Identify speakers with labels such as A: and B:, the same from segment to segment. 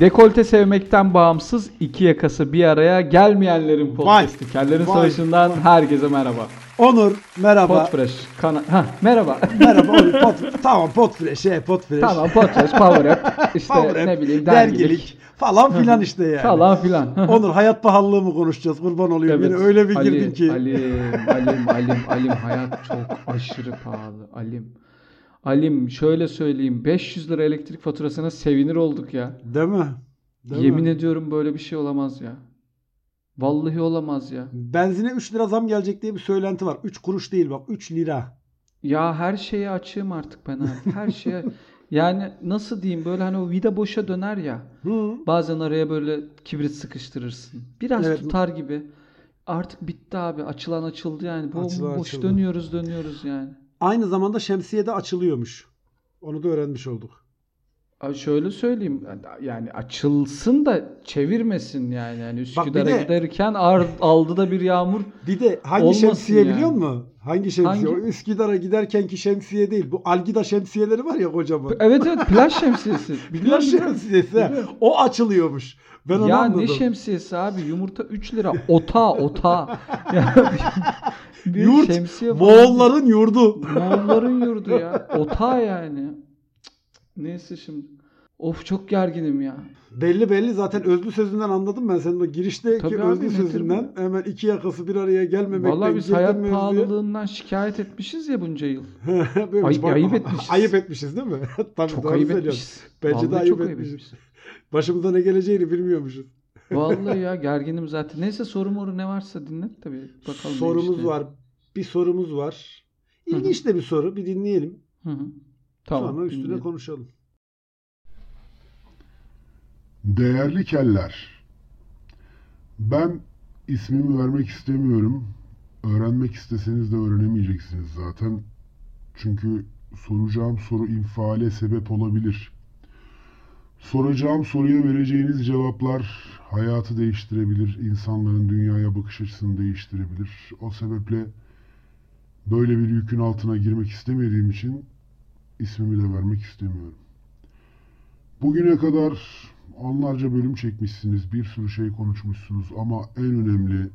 A: Dekolte sevmekten bağımsız iki yakası bir araya gelmeyenlerin
B: Vay.
A: podcast'i. Kellerin
B: Vay.
A: Savaşı'ndan herkese merhaba.
B: Onur merhaba.
A: Podfresh. Kana- ha, merhaba.
B: merhaba Onur. Pot, tamam Potfresh. Şey, Potfresh.
A: tamam Podfresh, Power App, işte
B: Power App,
A: ne bileyim dergilik,
B: falan filan işte yani.
A: falan filan.
B: Onur hayat pahalılığı mı konuşacağız kurban olayım.
A: Evet.
B: Beni öyle bir girdin
A: Ali,
B: ki.
A: Alim, alim, alim, alim. Hayat çok aşırı pahalı. Alim. Alim şöyle söyleyeyim. 500 lira elektrik faturasına sevinir olduk ya.
B: Değil mi? Değil
A: Yemin
B: mi?
A: ediyorum böyle bir şey olamaz ya. Vallahi olamaz ya.
B: Benzine 3 lira zam gelecek diye bir söylenti var. 3 kuruş değil bak 3 lira.
A: Ya her şeye açığım artık ben abi. Her şeye yani nasıl diyeyim böyle hani o vida boşa döner ya.
B: Hı.
A: Bazen araya böyle kibrit sıkıştırırsın. Biraz
B: Evet.
A: tutar gibi. Artık bitti abi. Açılan açıldı yani. Bu
B: Açılan
A: boş
B: açıldı.
A: dönüyoruz dönüyoruz yani.
B: Aynı zamanda şemsiye de açılıyormuş. Onu da öğrenmiş olduk.
A: Abi şöyle söyleyeyim yani açılsın da çevirmesin yani. yani Üsküdar'a
B: de-
A: giderken ar- aldı da bir yağmur.
B: Bir de hangi
A: Olmasın
B: şemsiye
A: yani.
B: biliyor musun? Hangi şemsiye?
A: Hangi?
B: O Üsküdar'a giderkenki şemsiye değil. Bu Algida şemsiyeleri var ya kocaman.
A: Evet evet plaj şemsiyesi.
B: Plaj
A: Biliyorum, biliyorum.
B: şemsiyesi. ha.
A: Biliyorum.
B: O açılıyormuş. Ben onu
A: Ya ne
B: anladım.
A: şemsiyesi abi? Yumurta 3 lira. Ota ota. Ya bir- bir
B: Yurt,
A: şemsiye falan değil.
B: Moğolların yurdu.
A: Moğolların yurdu ya. Ota yani. Cık, cık. Neyse şimdi. Of çok gerginim ya.
B: Belli belli zaten özlü sözünden anladım ben senin o girişteki
A: Tabii abi,
B: özlü
A: nedir
B: sözünden. Hemen iki yakası bir araya gelmemekten
A: Vallahi biz
B: girdin
A: hayat
B: mevzuya.
A: pahalılığından şikayet etmişiz ya bunca yıl.
B: Böyle
A: Ay-
B: çok-
A: ayıp etmişiz.
B: Ayıp etmişiz değil mi? Tabii
A: Çok
B: doğru
A: ayıp
B: söylüyorsun.
A: etmişiz.
B: Bence de
A: Vallahi
B: ayıp
A: çok
B: etmişiz. Başımıza ne geleceğini bilmiyormuşuz.
A: Vallahi ya gerginim zaten. Neyse soru moru ne varsa dinlet tabii. Bakalım
B: sorumuz
A: neymiş diye.
B: var. Bir sorumuz var. İlginç de bir soru. Bir dinleyelim.
A: Hı hı. Tamam.
B: Sonra üstüne
A: dinleyelim.
B: konuşalım.
C: Değerli keller, ben ismimi vermek istemiyorum. Öğrenmek isteseniz de öğrenemeyeceksiniz zaten. Çünkü soracağım soru infiale sebep olabilir. Soracağım soruya vereceğiniz cevaplar hayatı değiştirebilir, insanların dünyaya bakış açısını değiştirebilir. O sebeple böyle bir yükün altına girmek istemediğim için ismimi de vermek istemiyorum. Bugüne kadar onlarca bölüm çekmişsiniz, bir sürü şey konuşmuşsunuz ama en önemli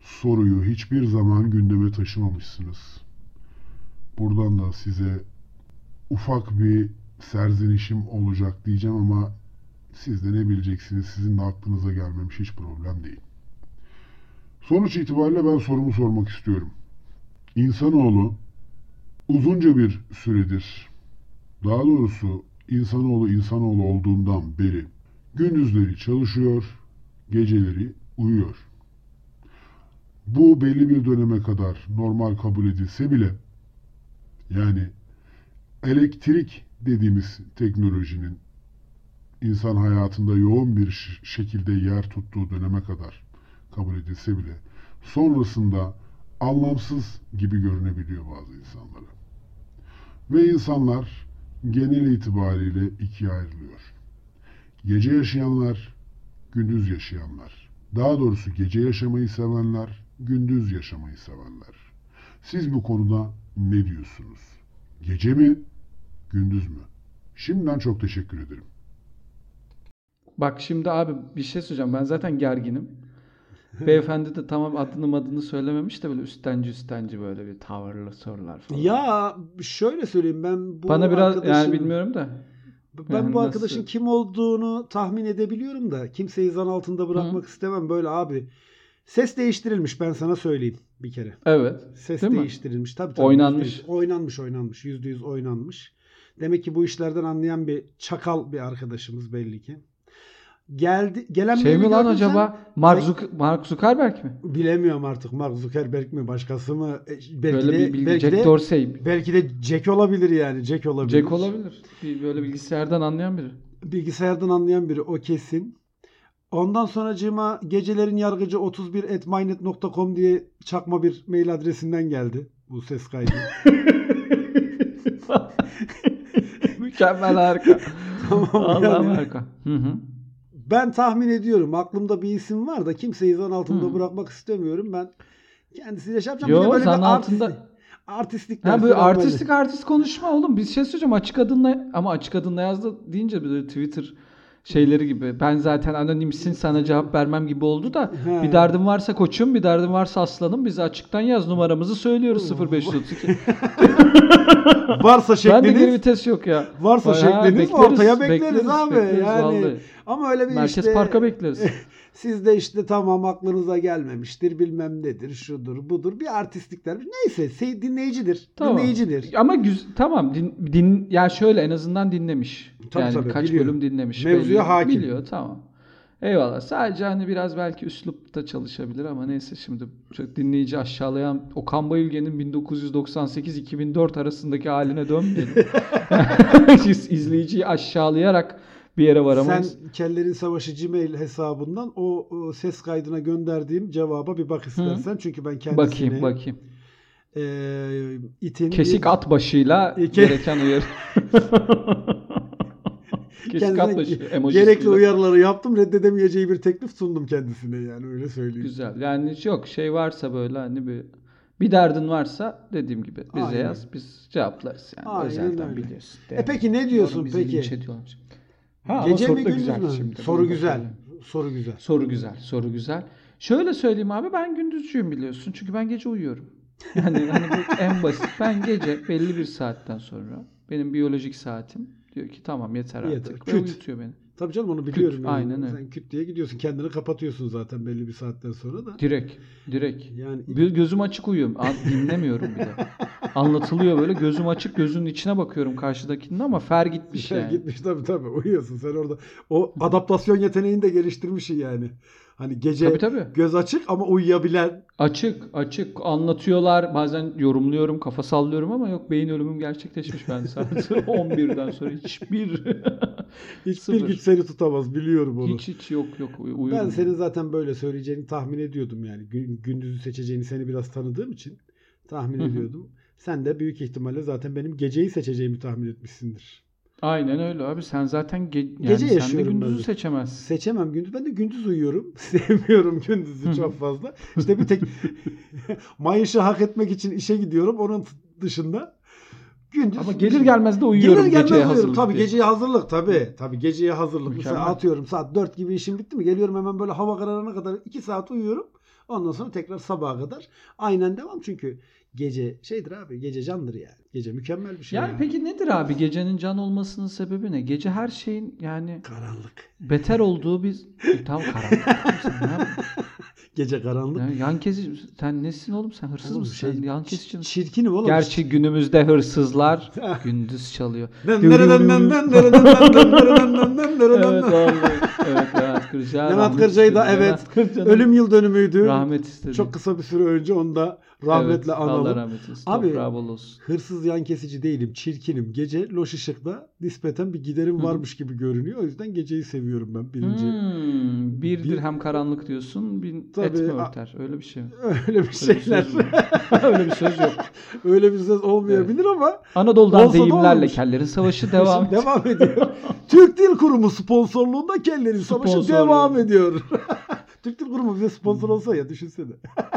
C: soruyu hiçbir zaman gündeme taşımamışsınız. Buradan da size ufak bir serzenişim olacak diyeceğim ama siz de ne bileceksiniz, sizin de aklınıza gelmemiş hiç problem değil. Sonuç itibariyle ben sorumu sormak istiyorum. İnsanoğlu uzunca bir süredir daha doğrusu insanoğlu insanoğlu olduğundan beri gündüzleri çalışıyor, geceleri uyuyor. Bu belli bir döneme kadar normal kabul edilse bile yani elektrik dediğimiz teknolojinin insan hayatında yoğun bir ş- şekilde yer tuttuğu döneme kadar kabul edilse bile sonrasında anlamsız gibi görünebiliyor bazı insanlara ve insanlar genel itibariyle ikiye ayrılıyor. Gece yaşayanlar, gündüz yaşayanlar. Daha doğrusu gece yaşamayı sevenler, gündüz yaşamayı sevenler. Siz bu konuda ne diyorsunuz? Gece mi, gündüz mü? Şimdiden çok teşekkür ederim.
A: Bak şimdi abi bir şey söyleyeceğim. Ben zaten gerginim. Beyefendi de tamam adını adını söylememiş de böyle üstenci üstenci böyle bir tavırlı sorular falan.
B: Ya şöyle söyleyeyim ben bu
A: Bana biraz yani
B: arkadaşın-
A: bilmiyorum da.
B: Ben
A: Yani
B: bu
A: nasıl-
B: arkadaşın kim olduğunu tahmin edebiliyorum da kimseyi zan altında bırakmak istemem böyle abi. Ses değiştirilmiş ben sana söyleyeyim bir kere.
A: Evet.
B: Ses
A: Değil mi?
B: değiştirilmiş tabii tabii.
A: Oynanmış.
B: %100. Oynanmış oynanmış yüzde yüz oynanmış. Demek ki bu işlerden anlayan bir çakal bir arkadaşımız belli ki. Geldi gelen
A: Şey mi
B: maili
A: lan
B: gördün sen?
A: acaba Mark, Zuck- Mark Zuckerberg mi?
B: Bilemiyorum artık Mark Zuckerberg mi başkası mı? E, Belki
A: Böyle bir
B: de,
A: bilgi.
B: belki
A: Jack
B: de,
A: Dorsey.
B: belki de Jack olabilir yani. Jack olabilir.
A: Jack olabilir. Bir, böyle bilgisayardan anlayan biri.
B: Bilgisayardan anlayan biri o kesin. Ondan sonracığıma gecelerin yargıcı 31 mynet.com diye çakma bir mail adresinden geldi bu ses kaydı.
A: Mükemmel harika.
B: tamam
A: Allah'ım
B: yani.
A: harika. Hı hı.
B: Ben tahmin ediyorum aklımda bir isim var da kimseyi zan altında
A: Hı.
B: bırakmak istemiyorum ben. Kendisiyle şey yapacağım. Bir de
A: Hmm. Yo
B: böyle
A: zan
B: bir artist-
A: altında.
B: artistlik
A: Ha böyle
B: dersi var bende.
A: artistik artist konuşma oğlum. Biz şey söyleyeceğim açık adınla ama açık adınla yazdı deyince böyle Twitter şeyleri gibi. Ben zaten anonimsin sana cevap vermem gibi oldu da
B: He.
A: bir derdin varsa koçum bir derdin varsa aslanım bize açıktan yaz numaramızı söylüyoruz 0532.
B: Varsa
A: ben de geri
B: şekliniz
A: vites yok ya.
B: varsa
A: Ha,
B: şekliniz
A: bekleriz,
B: ortaya bekleriz, abi. yani
A: vallahi.
B: ama öyle bir
A: Merkez
B: işte
A: Park'a bekleriz.
B: siz de işte tamam aklınıza gelmemiştir bilmem nedir şudur budur bir artistlikler neyse sey- dinleyicidir
A: Tamam.
B: dinleyicidir
A: Ama güz- tamam din, din ya şöyle en azından dinlemiş.
B: Tabii
A: yani
B: tabii,
A: kaç
B: biliyor.
A: bölüm dinlemiş.
B: Mevzuya hakim.
A: Biliyor tamam. Eyvallah. Sadece hani biraz belki üslupta çalışabilir ama neyse şimdi çok dinleyici aşağılayan Okan Bayülgen'in 1998-2004 arasındaki haline dönmeyelim. Biz izleyiciyi aşağılayarak bir yere varamayız.
B: sen kellerin savaşı Gmail hesabından o, o ses kaydına gönderdiğim cevaba bir bak istersen çünkü ben kendisine
A: bakayım bakayım.
B: e, itin
A: Kesik at başıyla
B: İki-
A: gereken uyarı. Kesik
B: Kendisine
A: at başı emojisiyle.
B: gerekli uyarıları yaptım reddedemeyeceği bir teklif sundum kendisine yani öyle söyleyeyim.
A: Güzel. Yani yok şey varsa böyle hani bir bir derdin varsa dediğim gibi bize
B: Aynen.
A: yaz biz cevaplarız yani.
B: Aynen
A: Özelden
B: öyle.
A: biliyorsun.
B: E peki ne diyorsun
A: Bizi linç
B: peki?
A: ediyorlarmış. Ha, ama
B: Gece
A: soru
B: mi
A: da
B: gündüz
A: güzel
B: mü?
A: şimdi.
B: Soru
A: Bunu da
B: güzel.
A: söyleyeyim.
B: Soru güzel.
A: Soru güzel. Soru güzel. Şöyle söyleyeyim abi ben gündüzcüyüm biliyorsun. Çünkü ben gece uyuyorum. Yani hani bu en basit. Ben gece belli bir saatten sonra benim biyolojik saatim diyor ki tamam yeter
B: Yeter,
A: artık. Ve
B: küt.
A: uyutuyor beni.
B: Tabii canım onu biliyorum. yani.
A: aynen öyle.
B: Sen küt diye gidiyorsun. Kendini kapatıyorsun zaten belli bir saatten sonra da.
A: Direkt. Direkt.
B: Yani
A: Bir gözüm açık uyuyorum. An- Dinlemiyorum bile. Anlatılıyor böyle. Gözüm açık gözünün içine bakıyorum karşıdakinin ama fer
B: bir
A: gitmiş
B: şey
A: yani.
B: gitmiş tabii tabii uyuyorsun sen orada. O adaptasyon yeteneğini de geliştirmişsin yani. Hani gece
A: Tabii tabii.
B: göz açık ama uyuyabilen
A: Açık açık anlatıyorlar. Bazen yorumluyorum, kafa sallıyorum ama yok beyin ölümüm gerçekleşmiş ben saat 11'den sonra hiçbir
B: hiçbir
A: Sıfır.
B: güç seni tutamaz biliyorum onu.
A: hiç hiç yok yok uy- uyurum.
B: ben senin zaten böyle söyleyeceğini tahmin ediyordum yani. Gün- Gündüzü seçeceğini seni biraz tanıdığım için tahmin
A: Hı hı.
B: ediyordum. Sen de büyük ihtimalle zaten benim geceyi seçeceğimi tahmin etmişsindir.
A: Aynen öyle abi. Sen zaten ge- yani
B: Gece
A: sen de
B: yaşıyorum
A: gündüzü
B: ben.
A: seçemezsin.
B: Seçemem gündüz. Ben de gündüz uyuyorum. Sevmiyorum gündüzü çok fazla. İşte bir tek mayışı hak etmek için işe gidiyorum. Onun dışında gündüz.
A: Ama gelir gelmez de uyuyorum
B: Gelir gelmez
A: geceye
B: uyuyorum.
A: hazırlık
B: Tabii
A: diye.
B: geceye hazırlık tabii. Tabii geceye hazırlık. Mesela
A: Mükemmel.
B: atıyorum saat 4 gibi işim bitti mi? Geliyorum hemen böyle hava kararına kadar 2 saat uyuyorum. Ondan sonra tekrar sabaha kadar aynen devam çünkü gece şeydir abi gece candır yani. Gece mükemmel bir şey.
A: Yani
B: ya.
A: peki nedir abi gecenin can olmasının sebebi ne? Gece her şeyin yani
B: karanlık.
A: beter olduğu bir E, tam karanlık. Sen ne yapıyorsun?
B: Gece karanlık.
A: Yani yan kesici sen nesin oğlum sen hırsız
B: Oğlum
A: mısın?
B: şey,
A: sen yan kesici misin?
B: Çirkinim oğlum. şey-
A: Gerçi günümüzde hırsızlar gündüz çalıyor. Evet
B: Levent
A: vallahi. Evet Levent Kırca. rahmet
B: Kırca'yı da
A: istedi.
B: evet
A: Levent Kırca'nın
B: ölüm yıl dönümüydü.
A: rahmet istedi.
B: Çok kısa bir süre önce onu da
A: Evet,
B: rahmetle
A: Allah
B: analım.
A: rahmet eylesin.
B: Abi-
A: Abi. Toprağı bol olsun.
B: Hırsız yan kesici değilim, çirkinim. Gece loş ışıkta nispeten bir giderim
A: Hı hı.
B: varmış gibi görünüyor. O yüzden geceyi seviyorum ben birinci.
A: Hmm, bir
B: Bir-
A: dirhem karanlık diyorsun, bin et
B: Tabii,
A: mi
B: a-
A: örter? Öyle bir şey mi?
B: Öyle bir
A: Öyle bir
B: şeyler.
A: söz yok. Öyle bir söz yok.
B: Öyle bir söz olmayabilir ama
A: Anadolu'dan
B: Olsa da
A: deyimlerle
B: olurmuş.
A: kellerin savaşı devam.
B: şimdi devam ediyor. Türk Dil Kurumu sponsorluğunda kellerin savaşı
A: Sponsorluğu.
B: devam ediyor. Türk Dil Kurumu bize sponsor olsa ya düşünsene.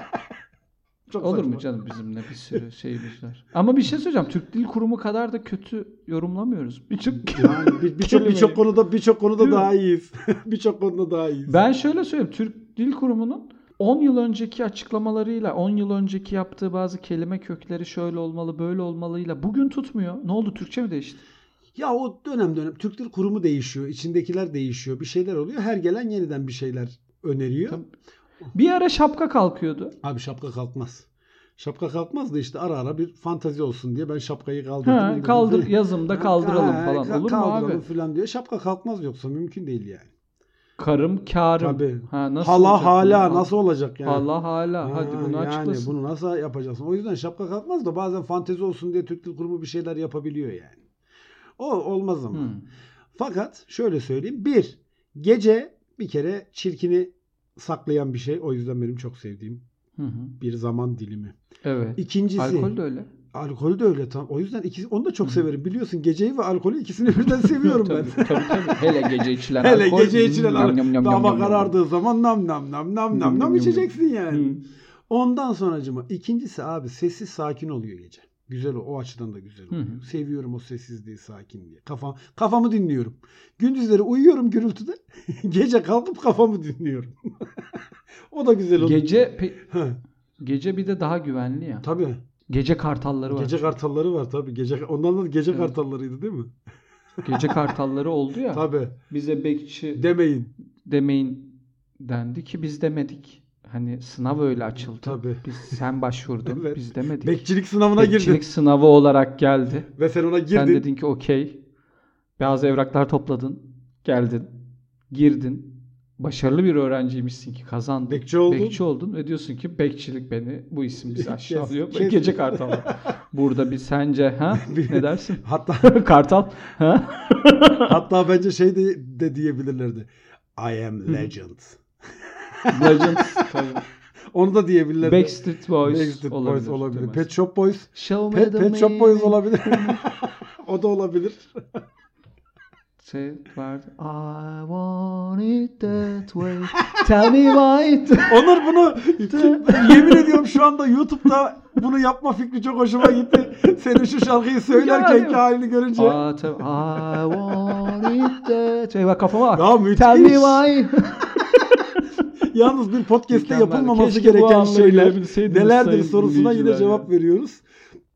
B: Çok
A: Olur mu
B: saçma.
A: canım bizim ne bir sürü şeyimiz var. Ama bir şey söyleyeceğim. Türk Dil Kurumu kadar da kötü yorumlamıyoruz. Birçok
B: Yani bir- birçok birçok
A: Kelimeyi.
B: konuda birçok konuda
A: Değil mi?
B: daha iyiyiz. birçok konuda daha iyiyiz.
A: Ben şöyle söyleyeyim. Türk Dil Kurumu'nun 10 yıl önceki açıklamalarıyla, 10 yıl önceki yaptığı bazı kelime kökleri şöyle olmalı, böyle olmalıyla bugün tutmuyor. Ne oldu? Türkçe mi değişti?
B: Ya o dönem dönem Türk Dil Kurumu değişiyor, içindekiler değişiyor, bir şeyler oluyor. Her gelen yeniden bir şeyler öneriyor.
A: Tabii. Bir ara şapka kalkıyordu.
B: Abi şapka kalkmaz. Şapka kalkmaz da işte ara ara bir fantazi olsun diye ben şapkayı kaldırdım.
A: Ha,
B: indirdim.
A: kaldır yazımda kaldıralım
B: Ha,
A: falan.
B: ka-
A: Olur mu
B: kaldıralım
A: abi?
B: falan diyor. Şapka kalkmaz yoksa mümkün değil yani.
A: Karım kârım.
B: Tabii.
A: Ha, nasıl
B: Hala
A: olacak
B: hala
A: bunun?
B: nasıl olacak yani?
A: Hala hala.
B: Ha,
A: Hadi bunu
B: yani
A: açıklasın.
B: bunu nasıl yapacaksın? O yüzden şapka kalkmaz da bazen fantezi olsun diye Türk Dil Kurumu bir şeyler yapabiliyor yani. O olmaz ama.
A: Hmm.
B: Fakat şöyle söyleyeyim. Bir, gece bir kere çirkini saklayan bir şey. O yüzden benim çok sevdiğim
A: Hı hı.
B: bir zaman dilimi.
A: Evet.
B: İkincisi,
A: Alkol
B: alkolü
A: de
B: de,
A: öyle.
B: öyle tam. O yüzden ikisi, onu da çok
A: Hı.
B: severim. Biliyorsun geceyi ve alkolü ikisini birden seviyorum ben.
A: tabii, tabii, tabii. Hele gece içilen
B: Hele
A: alkol.
B: gece içilen
A: Yum, yum, yum,
B: alkol.
A: yum,
B: Dava
A: yum, yum.
B: karardığı zaman nam nam nam nam nam
A: Yum,
B: nam
A: yum, yum.
B: içeceksin yani.
A: Hı.
B: Ondan sonracıma ikincisi abi sessiz sakin oluyor gece. Güzel o, o açıdan da güzel
A: Hı hı.
B: oluyor. Seviyorum o sessizliği, sakinliği. Kafa, kafamı dinliyorum. Gündüzleri uyuyorum gürültüde. Gece kalkıp kafamı dinliyorum. o da güzel oluyor.
A: Gece pe-
B: Ha,
A: gece bir de daha güvenli ya.
B: tabii.
A: Gece kartalları var.
B: Gece kartalları var tabii. Gece ondan da gece
A: Evet.
B: kartallarıydı değil mi?
A: Gece kartalları oldu ya.
B: Tabii.
A: Bize bekçi
B: Demeyin.
A: demeyin dendi ki biz demedik. Hani sınav öyle açıldı.
B: Tabii.
A: Biz sen başvurdun.
B: Evet.
A: Biz demedik.
B: Bekçilik sınavına girdin
A: Bekçilik sınavı olarak geldi.
B: ve sen ona
A: Sen
B: girdin.
A: dedin ki okey. Bazı evraklar topladın. Geldin. Girdin. Başarılı bir öğrenciymişsin ki kazandın.
B: Bekçi oldun.
A: Bekçi oldun ve diyorsun ki bekçilik beni bu isim bizi aşağılıyor.
B: Kes- kes.
A: Gece kartalı. Burada bir sence ha? Ne dersin?
B: Hatta
A: Kartal. Ha?
B: hatta bence şey de, de diyebilirlerdi. I am legend.
A: Legends. tabii.
B: Onu da diyebilirlerdi.
A: Backstreet Boys
B: Backstreet Boys
A: olabilir.
B: olabilir.
A: Demez.
B: Pet Shop Boys.
A: Show me
B: Pet,
A: the
B: Pet Shop Boys olabilir. o da olabilir.
A: Şey vardı. I want it that way. Tell me why it...
B: Onur bunu yemin ediyorum şu anda YouTube'da bunu yapma fikri çok hoşuma gitti. Senin şu şarkıyı
A: değil
B: söylerken
A: mi?
B: ki halini görünce.
A: Aa, tabii. I want it that way. Bak kafama bak.
B: Ya müthiş.
A: Tell me why.
B: Yalnız bir podcast'te
A: Mükemmel.
B: yapılmaması
A: Keşke bu
B: gereken
A: anları
B: şeyler
A: görebilseydiniz
B: nelerdir
A: sayın
B: sorusuna yine
A: dinleyiciler
B: cevap
A: ya.
B: veriyoruz.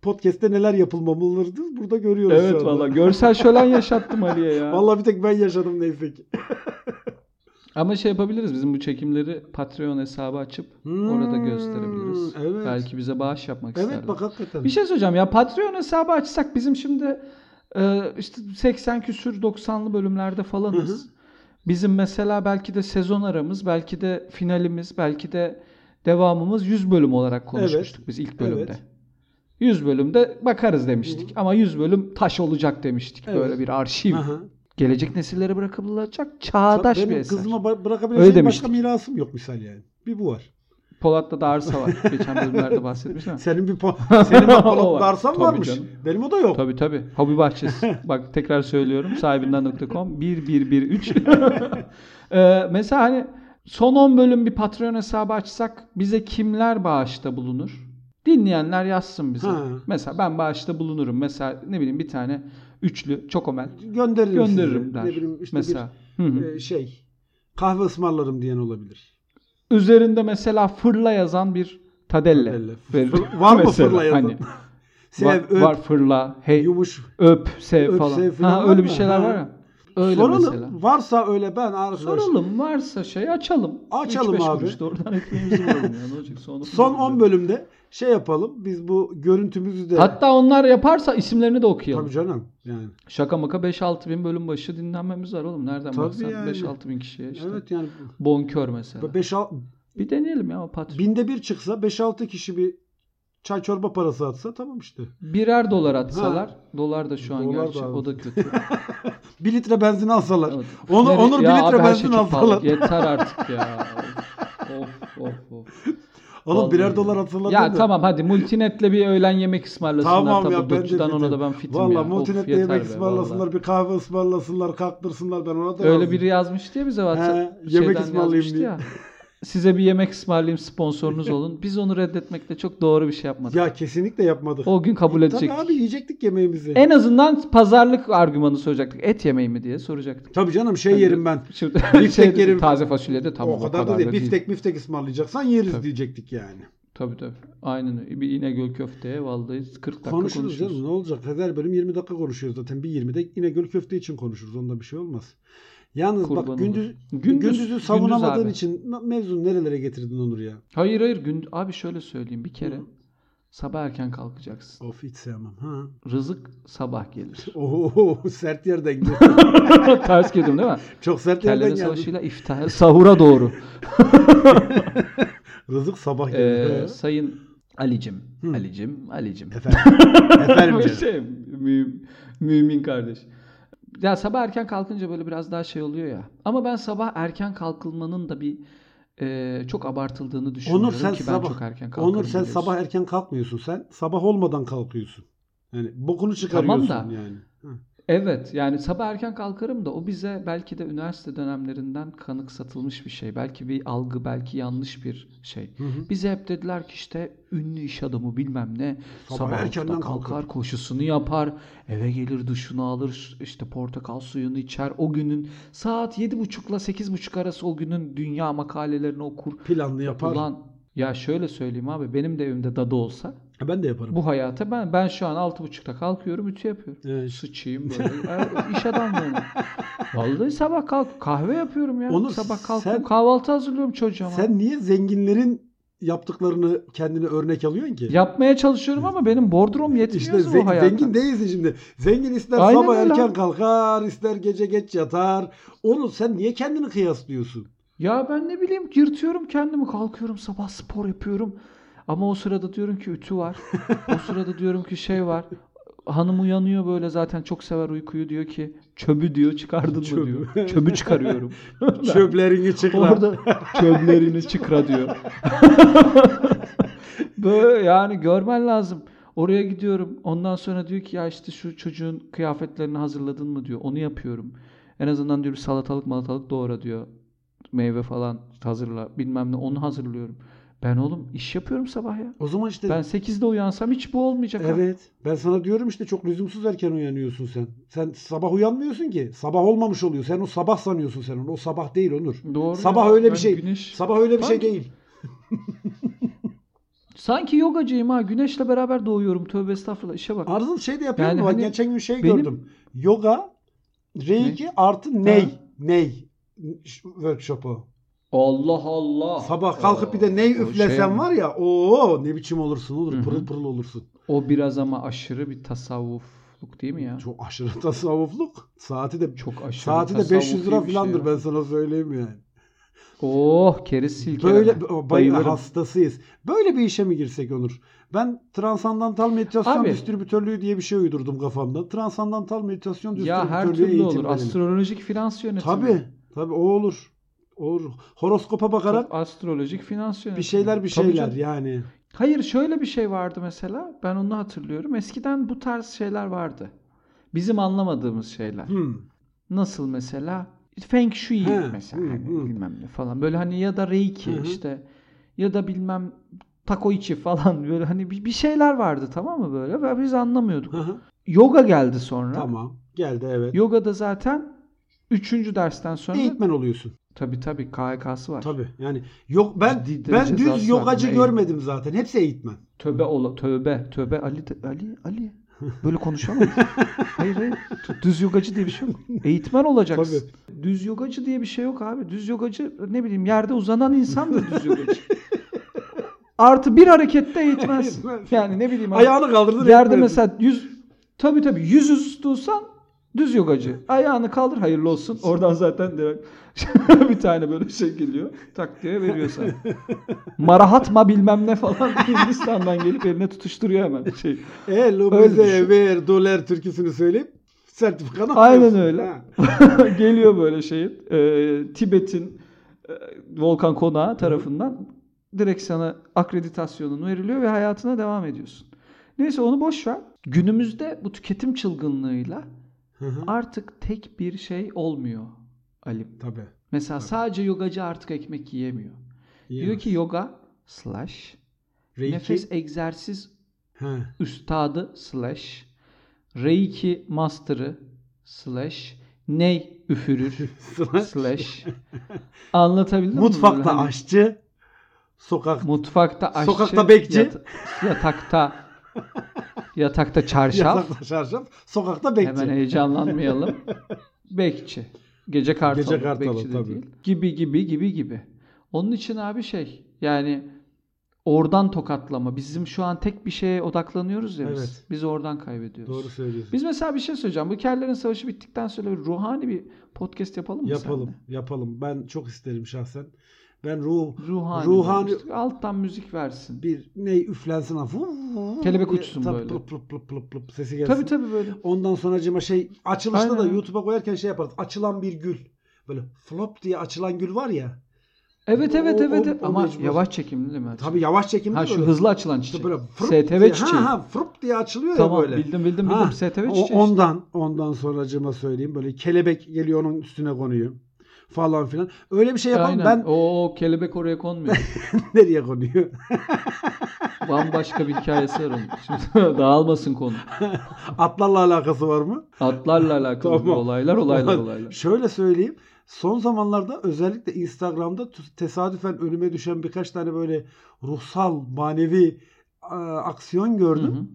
B: Podcast'te neler yapılmamalıdır burada görüyoruz şu
A: Evet
B: anda.
A: valla görsel şölen yaşattım Ali'ye ya.
B: Vallahi bir tek ben yaşadım neyse ki.
A: Ama şey yapabiliriz bizim bu çekimleri Patreon hesabı açıp
B: Hmm,
A: orada gösterebiliriz.
B: evet.
A: Belki bize bağış yapmak
B: Evet
A: isterler.
B: bak hakikaten.
A: Bir şey söyleyeceğim ya Patreon hesabı açsak bizim şimdi e, işte 80 küsür 90'lı bölümlerde falanız.
B: Hı hı.
A: Bizim mesela belki de sezon aramız, belki de finalimiz, belki de devamımız 100 bölüm olarak konuşmuştuk biz ilk bölümde.
B: Evet.
A: 100 bölümde bakarız demiştik ama 100 bölüm taş olacak demiştik.
B: Evet.
A: Böyle bir arşiv.
B: Aha.
A: Gelecek nesillere bırakılacak çağdaş
B: Benim
A: bir eser.
B: kızıma ba-
A: Öyle
B: bırakabileceğim başka
A: demiştik.
B: mirasım yok misal yani. Bir bu var.
A: Polat'ta da arsa var. Geçen bölümlerde bahsetmiş değil mi?
B: Senin bir po- senin bak
A: O var.
B: Polat Darsan
A: Tabii
B: varmış.
A: canım.
B: Benim o da yok.
A: Tabii tabii. Hobi bahçesi. Bak tekrar söylüyorum. Sahibinden.com 1113. Ee, mesela hani son 10 bölüm bir Patreon hesabı açsak bize kimler bağışta bulunur? Dinleyenler yazsın bize.
B: Ha.
A: Mesela ben bağışta bulunurum. Mesela ne bileyim bir tane üçlü çokomel
B: Gönderirim,
A: gönderirim
B: size.
A: der.
B: Ne bileyim işte
A: mesela. Hı
B: bir
A: hı.
B: e, şey kahve ısmarlarım diyen olabilir.
A: Üzerinde mesela fırla yazan bir tadelle.
B: Tadelle.
A: verir.
B: Fır- var mı
A: Mesela
B: fırla yazan?
A: Hani,
B: Sev,
A: var,
B: öp,
A: var fırla, hey,
B: yumuş.
A: öp, sev
B: Öp,
A: falan.
B: sev falan
A: ha,
B: var
A: öyle bir
B: mı?
A: şeyler
B: Ha.
A: var ya. Öyle
B: Soralım.
A: mesela.
B: Varsa öyle ben arkadaşlar.
A: Soralım varsa şey açalım.
B: Açalım
A: Üç beş
B: abi.
A: kuruş da oradan ekmeğimizi bulalım ya. Ne olacak? Sonra
B: Son 10 bölümde şey yapalım. Biz bu görüntümüzü de
A: Hatta onlar yaparsa isimlerini de okuyalım.
B: tabii canım yani.
A: Şaka maka 5-6 bin bölüm başı dinlenmemiz var oğlum. Nereden
B: Tabii
A: baksan
B: yani.
A: 5-6 bin kişiye işte.
B: Evet yani
A: Bonkör mesela.
B: 5
A: Bir deneyelim ya o patron.
B: binde bir çıksa 5-6 kişi bir çay çorba parası atsa tamam işte.
A: Birer dolar atsalar. Dolar da şu an
B: Dolar da
A: gerçi.
B: abi.
A: O da kötü.
B: 1 litre benzin alsalar.
A: Evet.
B: Onu,
A: Nereye-
B: Onur 1
A: Ya abi
B: litre
A: her
B: benzin
A: şey çok pahalı.
B: alsalar.
A: Yeter artık ya. Of of of.
B: Oğlum birer
A: Vallahi
B: dolar
A: ya.
B: atsalar.
A: Ya
B: değil mi?
A: tamam hadi Multinet'le bir öğlen yemek ısmarlasınlar.
B: Tamam
A: Tamam
B: ya,
A: ya
B: ben de
A: ona da
B: fitim.
A: ben fitim ya.
B: Valla
A: Of,
B: multinetle
A: yeter
B: yemek
A: be,
B: ısmarlasınlar,
A: vallahi.
B: bir kahve ısmarlasınlar, kalktırsınlar ben ona da
A: Öyle
B: razıyım.
A: biri yazmış diye bize WhatsApp
B: He, yemek
A: şeyden
B: ısmarlayayım
A: yazmıştı
B: diye.
A: ya. Size bir yemek ısmarlayayım sponsorunuz olun. Biz onu reddetmekle çok doğru bir şey yapmadık.
B: Ya kesinlikle yapmadık.
A: o gün kabul edecek.
B: Tabii abi yiyecektik yemeğimizi.
A: En azından pazarlık argümanı soracaktık. Et yemeği mi diye soracaktık.
B: Tabii canım şey
A: Tabii.
B: yerim ben.
A: Şimdi
B: Biftek
A: şey dedi,
B: yerim.
A: taze fasulye de tamam
B: o kadar, da değil. Biftek miftek ısmarlayacaksan yeriz
A: Tabii.
B: diyecektik yani.
A: Tabii tabii. Aynen öyle. Bir İnegöl köfteye vallahi 40 dakika
B: Konuşuruz
A: konuşuruz.
B: canım ne olacak? Her bölüm 20 dakika konuşuyoruz zaten. Bir 20'de yine göl köfte için konuşuruz. Onda bir şey olmaz. Yalnız
A: Kurban
B: bak
A: olur.
B: gündüz,
A: Gündüz-
B: gündüzü
A: gündüz
B: savunamadığın
A: abi.
B: için me- mevzunu nerelere getirdin Onur ya?
A: Hayır hayır. Gün... Abi şöyle söyleyeyim bir kere.
B: Hı.
A: Sabah erken kalkacaksın.
B: Of hiç sevmem. Ha.
A: Rızık sabah gelir.
B: Oho sert yerden geldi.
A: Ters girdim değil mi?
B: Çok sert yerden
A: Kelleme
B: geldi.
A: savaşıyla iftihar. Sahura doğru.
B: Rızık sabah geldi.
A: Ee,
B: He.
A: sayın Alicim,
B: Hı.
A: Alicim, Alicim.
B: Efendim. Efendim canım.
A: şey, mü- mümin kardeş. Ya sabah erken kalkınca böyle biraz daha şey oluyor ya. Ama ben sabah erken kalkılmanın da bir e, çok abartıldığını düşünüyorum
B: Onur sen
A: ki ben
B: sabah
A: çok erken kalkarım.
B: Onur sen
A: biliyorsun.
B: sabah erken kalkmıyorsun. Sen sabah olmadan kalkıyorsun. Yani bokunu çıkarıyorsun
A: da-
B: yani. Hı.
A: Evet yani sabah erken kalkarım da o bize belki de üniversite dönemlerinden kanık satılmış bir şey. Belki bir algı, belki yanlış bir şey.
B: Hı hı.
A: Bize hep dediler ki işte ünlü iş adamı bilmem ne
B: Sabah
A: sabah, altıda
B: erkenden
A: kalkar,
B: kalkar.
A: koşusunu yapar, eve gelir duşunu alır, işte portakal suyunu içer. O günün saat yedi buçukla sekiz buçuk arası o günün dünya makalelerini okur.
B: Planlı yapar.
A: Ulan ya şöyle söyleyeyim abi benim de evimde dadı olsa
B: Ha, Ben de yaparım.
A: bu hayata ben ben şu an altı buçukta kalkıyorum ütü yapıyorum.
B: Evet.
A: Sıçayım böyle. Ay, İş adamlığım. Vallahi sabah kalk kahve yapıyorum ya.
B: Onur,
A: sabah kalkıyorum
B: sen-
A: kahvaltı hazırlıyorum çocuğuma.
B: Sen niye zenginlerin yaptıklarını kendine örnek alıyorsun ki?
A: Yapmaya çalışıyorum ama benim bordrom yetmiyor
B: İşte
A: bu
B: zen-
A: hayata.
B: zengin değilsin şimdi. Zengin ister
A: Aynen
B: sabah
A: öyle
B: erken
A: abi.
B: kalkar, ister gece geç yatar. Onu sen niye kendini kıyaslıyorsun?
A: Ya ben ne bileyim yırtıyorum kendimi kalkıyorum sabah spor yapıyorum. Ama o sırada diyorum ki ütü var. o sırada diyorum ki şey var. Hanım uyanıyor böyle zaten çok sever uykuyu diyor ki çöbü diyor çıkardın mı
B: Çöbü.
A: diyor. Çöbü çıkarıyorum.
B: Çöplerini çıkar.
A: Orada çöplerini çıkra diyor. Böyle yani görmen lazım. Oraya gidiyorum. Ondan sonra diyor ki ya işte şu çocuğun kıyafetlerini hazırladın mı diyor. Onu yapıyorum. En azından diyor bir salatalık malatalık doğra diyor. Meyve falan hazırla. Bilmem ne onu hazırlıyorum. Ben oğlum iş yapıyorum sabah ya.
B: O zaman işte
A: Ben 8'de uyansam hiç bu olmayacak. abi.
B: evet. Ben sana diyorum işte çok lüzumsuz erken uyanıyorsun sen. Sen sabah uyanmıyorsun ki. Sabah olmamış oluyor. Sen o sabah sanıyorsun sen onu. O sabah değil Onur.
A: Doğru.
B: Sabah
A: ya.
B: öyle bir
A: Ben
B: şey.
A: güneş-
B: Sabah öyle bir şey
A: Sanki-
B: değil.
A: Sanki yogacıyım ha. Güneşle beraber doğuyorum. Tövbe estağfurullah. İşe bak.
B: Arzu şey de yapıyor
A: Yani
B: mu? Bak
A: hani
B: geçen gün şey
A: benim-
B: gördüm. Yoga Reiki artı
A: Ha.
B: ney. Ney workshop'u.
A: Allah Allah.
B: Sabah kalkıp bir de ney
A: O
B: üflesen
A: şey ama-
B: var ya o ne biçim olursun
A: Hı
B: olur
A: hı.
B: pırıl pırıl olursun.
A: O biraz ama aşırı bir tasavvufluk değil mi ya? Çok,
B: Çok aşırı tasavvufluk. Saati de
A: aşırı
B: saati de 500 lira
A: tasavvufi bir şey
B: filandır
A: ya.
B: ben sana söyleyeyim yani.
A: Oh keriz silkeleme.
B: Böyle bay-
A: Bayılırım.
B: hastasıyız. Böyle bir işe mi girsek Onur? Ben transandantal meditasyon
A: Abi.
B: distribütörlüğü diye bir şey uydurdum kafamda. Transandantal meditasyon
A: Ya
B: distribütörlüğü
A: her türlü olur.
B: eğitimleri.
A: Astrolojik finans yönetimi.
B: Tabii. Tabii o olur. Olur. Horoskopa bakarak
A: Çok astrolojik finans yönetimi.
B: bir şeyler bir
A: Tabii
B: şeyler
A: canım.
B: yani.
A: Hayır şöyle bir şey vardı mesela. Ben onu hatırlıyorum. Eskiden bu tarz şeyler vardı. Bizim anlamadığımız şeyler.
B: Hmm.
A: Nasıl mesela? Feng Shui
B: He,
A: mesela
B: hı,
A: hani
B: hı.
A: bilmem ne falan. Böyle hani ya da Reiki
B: Hı hı.
A: işte ya da bilmem Takoichi falan böyle hani bir bir şeyler vardı tamam mı böyle ve biz anlamıyorduk.
B: Hı hı.
A: Yoga geldi sonra.
B: tamam. Geldi evet.
A: Yoga da zaten 3. dersten sonra
B: Eğitmen oluyorsun.
A: tabii tabii KHK'sı var.
B: Tabii yani yok ben
A: Ciddi
B: ben
A: derecede
B: düz
A: hasta var.
B: yogacı
A: Ne
B: görmedim zaten. Hepsi eğitmen.
A: Tövbe ola tövbe tövbe Ali de- Ali Ali böyle konuşamayız. hayır hayır. Düz yogacı diye bir şey yok. Eğitmen olacaksın. Düz yogacı diye bir şey yok abi. Düz yogacı ne bileyim yerde uzanan insandır düz yogacı. Artı bir harekette eğitmensin.
B: Eğitmensin.
A: Yani ne bileyim abi.
B: Ayağını kaldırdın.
A: Yerde
B: eğitmensin.
A: mesela yüz tabii tabii yüz üstü dursan düz yogacı. Ayağını kaldır hayırlı olsun. Oradan zaten direkt bir tane böyle şey geliyor. Tak diye veriyor sana. Marahatma bilmem ne falan Hindistan'dan gelip eline tutuşturuyor hemen şey.
B: Hello
A: Öyle
B: bize
A: düşün.
B: ver dolar türküsünü söyleyip sertifikanı
A: Aynen
B: alıyorsun.
A: öyle.
B: Ha.
A: geliyor böyle şeyin e, Tibet'in e, volkan konağı tarafından direkt sana akreditasyonun veriliyor ve hayatına devam ediyorsun. Neyse onu boş ver. Günümüzde bu tüketim çılgınlığıyla
B: Hı hı.
A: artık tek bir şey olmuyor Alim.
B: Tabii.
A: Mesela sadece yogacı artık ekmek yiyemiyor. Diyor ki yoga slash
B: Reiki.
A: nefes egzersiz
B: Ha.
A: üstadı slash reiki master'ı slash ney üfürür slash anlatabildim mi? Böyle
B: Mutfakta
A: hani
B: aşçı, sokak
A: mutfakta aşçı
B: Sokakta bekçi.
A: yata- yatakta yatakta çarşaf
B: yatakta şarjaf, sokakta bekçi.
A: Hemen heyecanlanmayalım. Bekçi. Gece kartalı.
B: Gece kartalı,
A: bekçi de
B: tabii.
A: değil. Gibi gibi gibi gibi. Onun için abi şey yani oradan tokatlama. Bizim şu an tek bir şeye odaklanıyoruz ya biz.
B: Evet.
A: Biz oradan kaybediyoruz.
B: Doğru söylüyorsun.
A: Biz mesela bir şey söyleyeceğim. Bu kerlerin savaşı bittikten sonra bir ruhani bir podcast yapalım mı
B: yapalım,
A: seninle?
B: yapalım. Ben çok isterim şahsen. Ben ruh
A: Ruhani.
B: Ruhani-
A: demiştik. Alttan müzik versin.
B: bir ne üflensin ha, vu- vu- vu-
A: Kelebek
B: diye-
A: uçsun
B: tabii,
A: böyle.
B: Plıp plıp plıp plıp plıp sesi gelsin.
A: Tabii tabii böyle.
B: Ondan sonracıma şey açılışta da
A: Aynen.
B: YouTube'a koyarken şey yaparız. Açılan bir gül. Böyle flop diye açılan gül var ya.
A: Evet evet
B: O-
A: evet.
B: o-
A: evet.
B: o
A: Ama
B: mecbur.
A: yavaş çekimli değil mi?
B: Tabii yavaş çekimli
A: Ha şu
B: böyle.
A: hızlı açılan
B: İşte
A: çiçek.
B: böyle fırp diye-
A: STV çiçeği.
B: Ha, ha, fırp diye açılıyor ya
A: tamam
B: böyle.
A: bildim bildim
B: Ha,
A: bildim. STV
B: O-
A: çiçeği. işte.
B: ondan ondan sonracığıma söyleyeyim böyle kelebek geliyor onun üstüne konuyor falan filan. Öyle bir şey yapan
A: Aynen.
B: ben
A: O kelebek oraya konmuyor.
B: nereye konuyor?
A: Bambaşka bir hikayesi var onun. Şimdi dağılmasın konu.
B: Atlarla alakası var mı?
A: Atlarla alakalı bir
B: Tamam.
A: olaylar olaylar
B: Ulan,
A: olaylar.
B: Şöyle söyleyeyim. Son zamanlarda özellikle Instagram'da t- tesadüfen önüme düşen birkaç tane böyle ruhsal, manevi e, aksiyon
A: Hı
B: gördüm.
A: hı.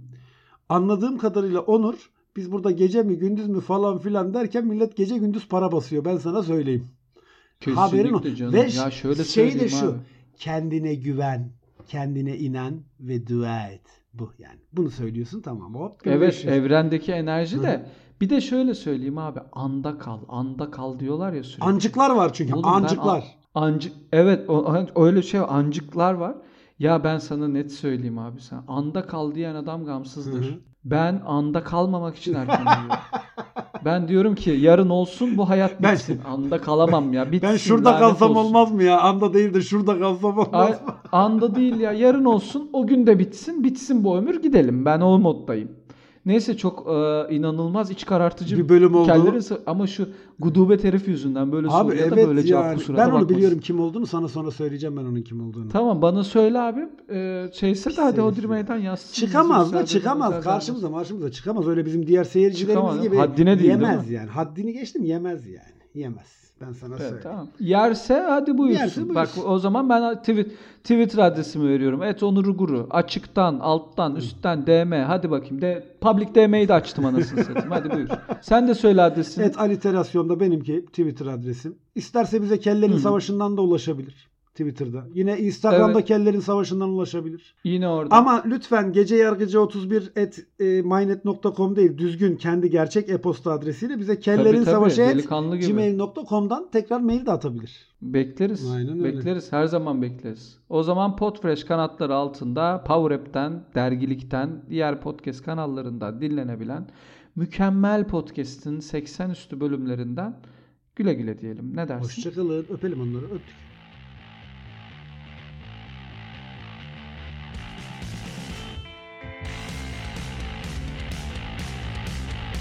B: Anladığım kadarıyla Onur biz burada gece mi gündüz mü falan filan derken millet gece gündüz para basıyor. Ben sana söyleyeyim. Haberin
A: Kesinlikle
B: o.
A: canım.
B: Ve
A: ya şöyle
B: şey de
A: söyleyeyim
B: şu.
A: abi.
B: Kendine güven, kendine inan ve dua et. Bu yani. Bunu söylüyorsun tamam hop.
A: Evet
B: görüşürüz.
A: evrendeki enerji
B: Hı.
A: de bir de şöyle söyleyeyim abi anda kal anda kal diyorlar ya sürekli.
B: Ancıklar var çünkü.
A: Oğlum ben
B: ancıklar.
A: Ancık evet o- an- öyle şey ancıklar var. Ya ben sana net söyleyeyim abi sen anda kal diyen adam gamsızdır.
B: Hı hı.
A: Ben anda kalmamak için erken uyuyorum. ben diyorum ki yarın olsun bu hayat
B: Ben-
A: bitsin. anda kalamam ya bitsin.
B: Ben şurada
A: lanet
B: kalsam
A: olsun.
B: olmaz mı ya? Anda değil de şurada kalsam olmaz
A: Ay-
B: mı?
A: anda değil ya yarın olsun o gün de bitsin bitsin bu ömür gidelim ben o moddayım. Neyse çok e, inanılmaz iç karartıcı
B: Bir bölüm oldu.
A: kellerin sa- ama şu gudubet herif yüzünden böyle
B: Abi
A: soruya da
B: evet
A: böyle cevap
B: yani.
A: kusurata
B: Ben onu
A: bakmasın.
B: biliyorum kim olduğunu sana sonra söyleyeceğim ben onun kim olduğunu.
A: Tamam bana söyle abi. Ee, şeyse
B: Pis
A: de hadi
B: herif
A: o
B: ya.
A: meydan yazsın.
B: Şey, Çıkamaz
A: Bizim
B: da
A: serveri
B: çıkamaz.
A: özel
B: Karşımıza
A: vermez.
B: marşımıza çıkamaz. Öyle bizim diğer seyircilerimiz
A: Çıkamaz.
B: gibi
A: Haddine değil,
B: yemez
A: değil
B: yani. Haddini geçtim yemez yani. Yemez. Ben sana
A: Evet,
B: söyleyeyim.
A: tamam. Yerse hadi buyursun.
B: Yerse
A: Bak
B: buyursun.
A: o zaman ben tweet, Twitter adresimi veriyorum. Et Onur Guru. Açıktan, alttan, üstten DM. Hadi bakayım. De, public DM'yi de açtım anasını satayım. Hadi buyur. Sen de söyle adresini.
B: Evet aliterasyonda benimki Twitter adresim. İsterse bize kellerin
A: Hı hı.
B: savaşından da ulaşabilir. Twitter'da. Yine Instagram'da
A: Evet.
B: kellerin savaşından ulaşabilir.
A: Yine orada.
B: Ama lütfen gece yargıcı 31 et e, mynet.com değil düzgün kendi gerçek e-posta adresiyle bize
A: Tabii,
B: kellerin
A: tabii,
B: savaşı et
A: delikanlı gibi.
B: gmail.com'dan tekrar mail de atabilir.
A: Bekleriz.
B: Aynen öyle.
A: Bekleriz. Her zaman bekleriz. O zaman Podfresh kanatları altında Power App'ten, dergilikten, diğer podcast kanallarından dinlenebilen mükemmel podcast'in 80 üstü bölümlerinden güle güle diyelim. Ne dersin?
B: Hoşçakalın. Öpelim onları. Öptük.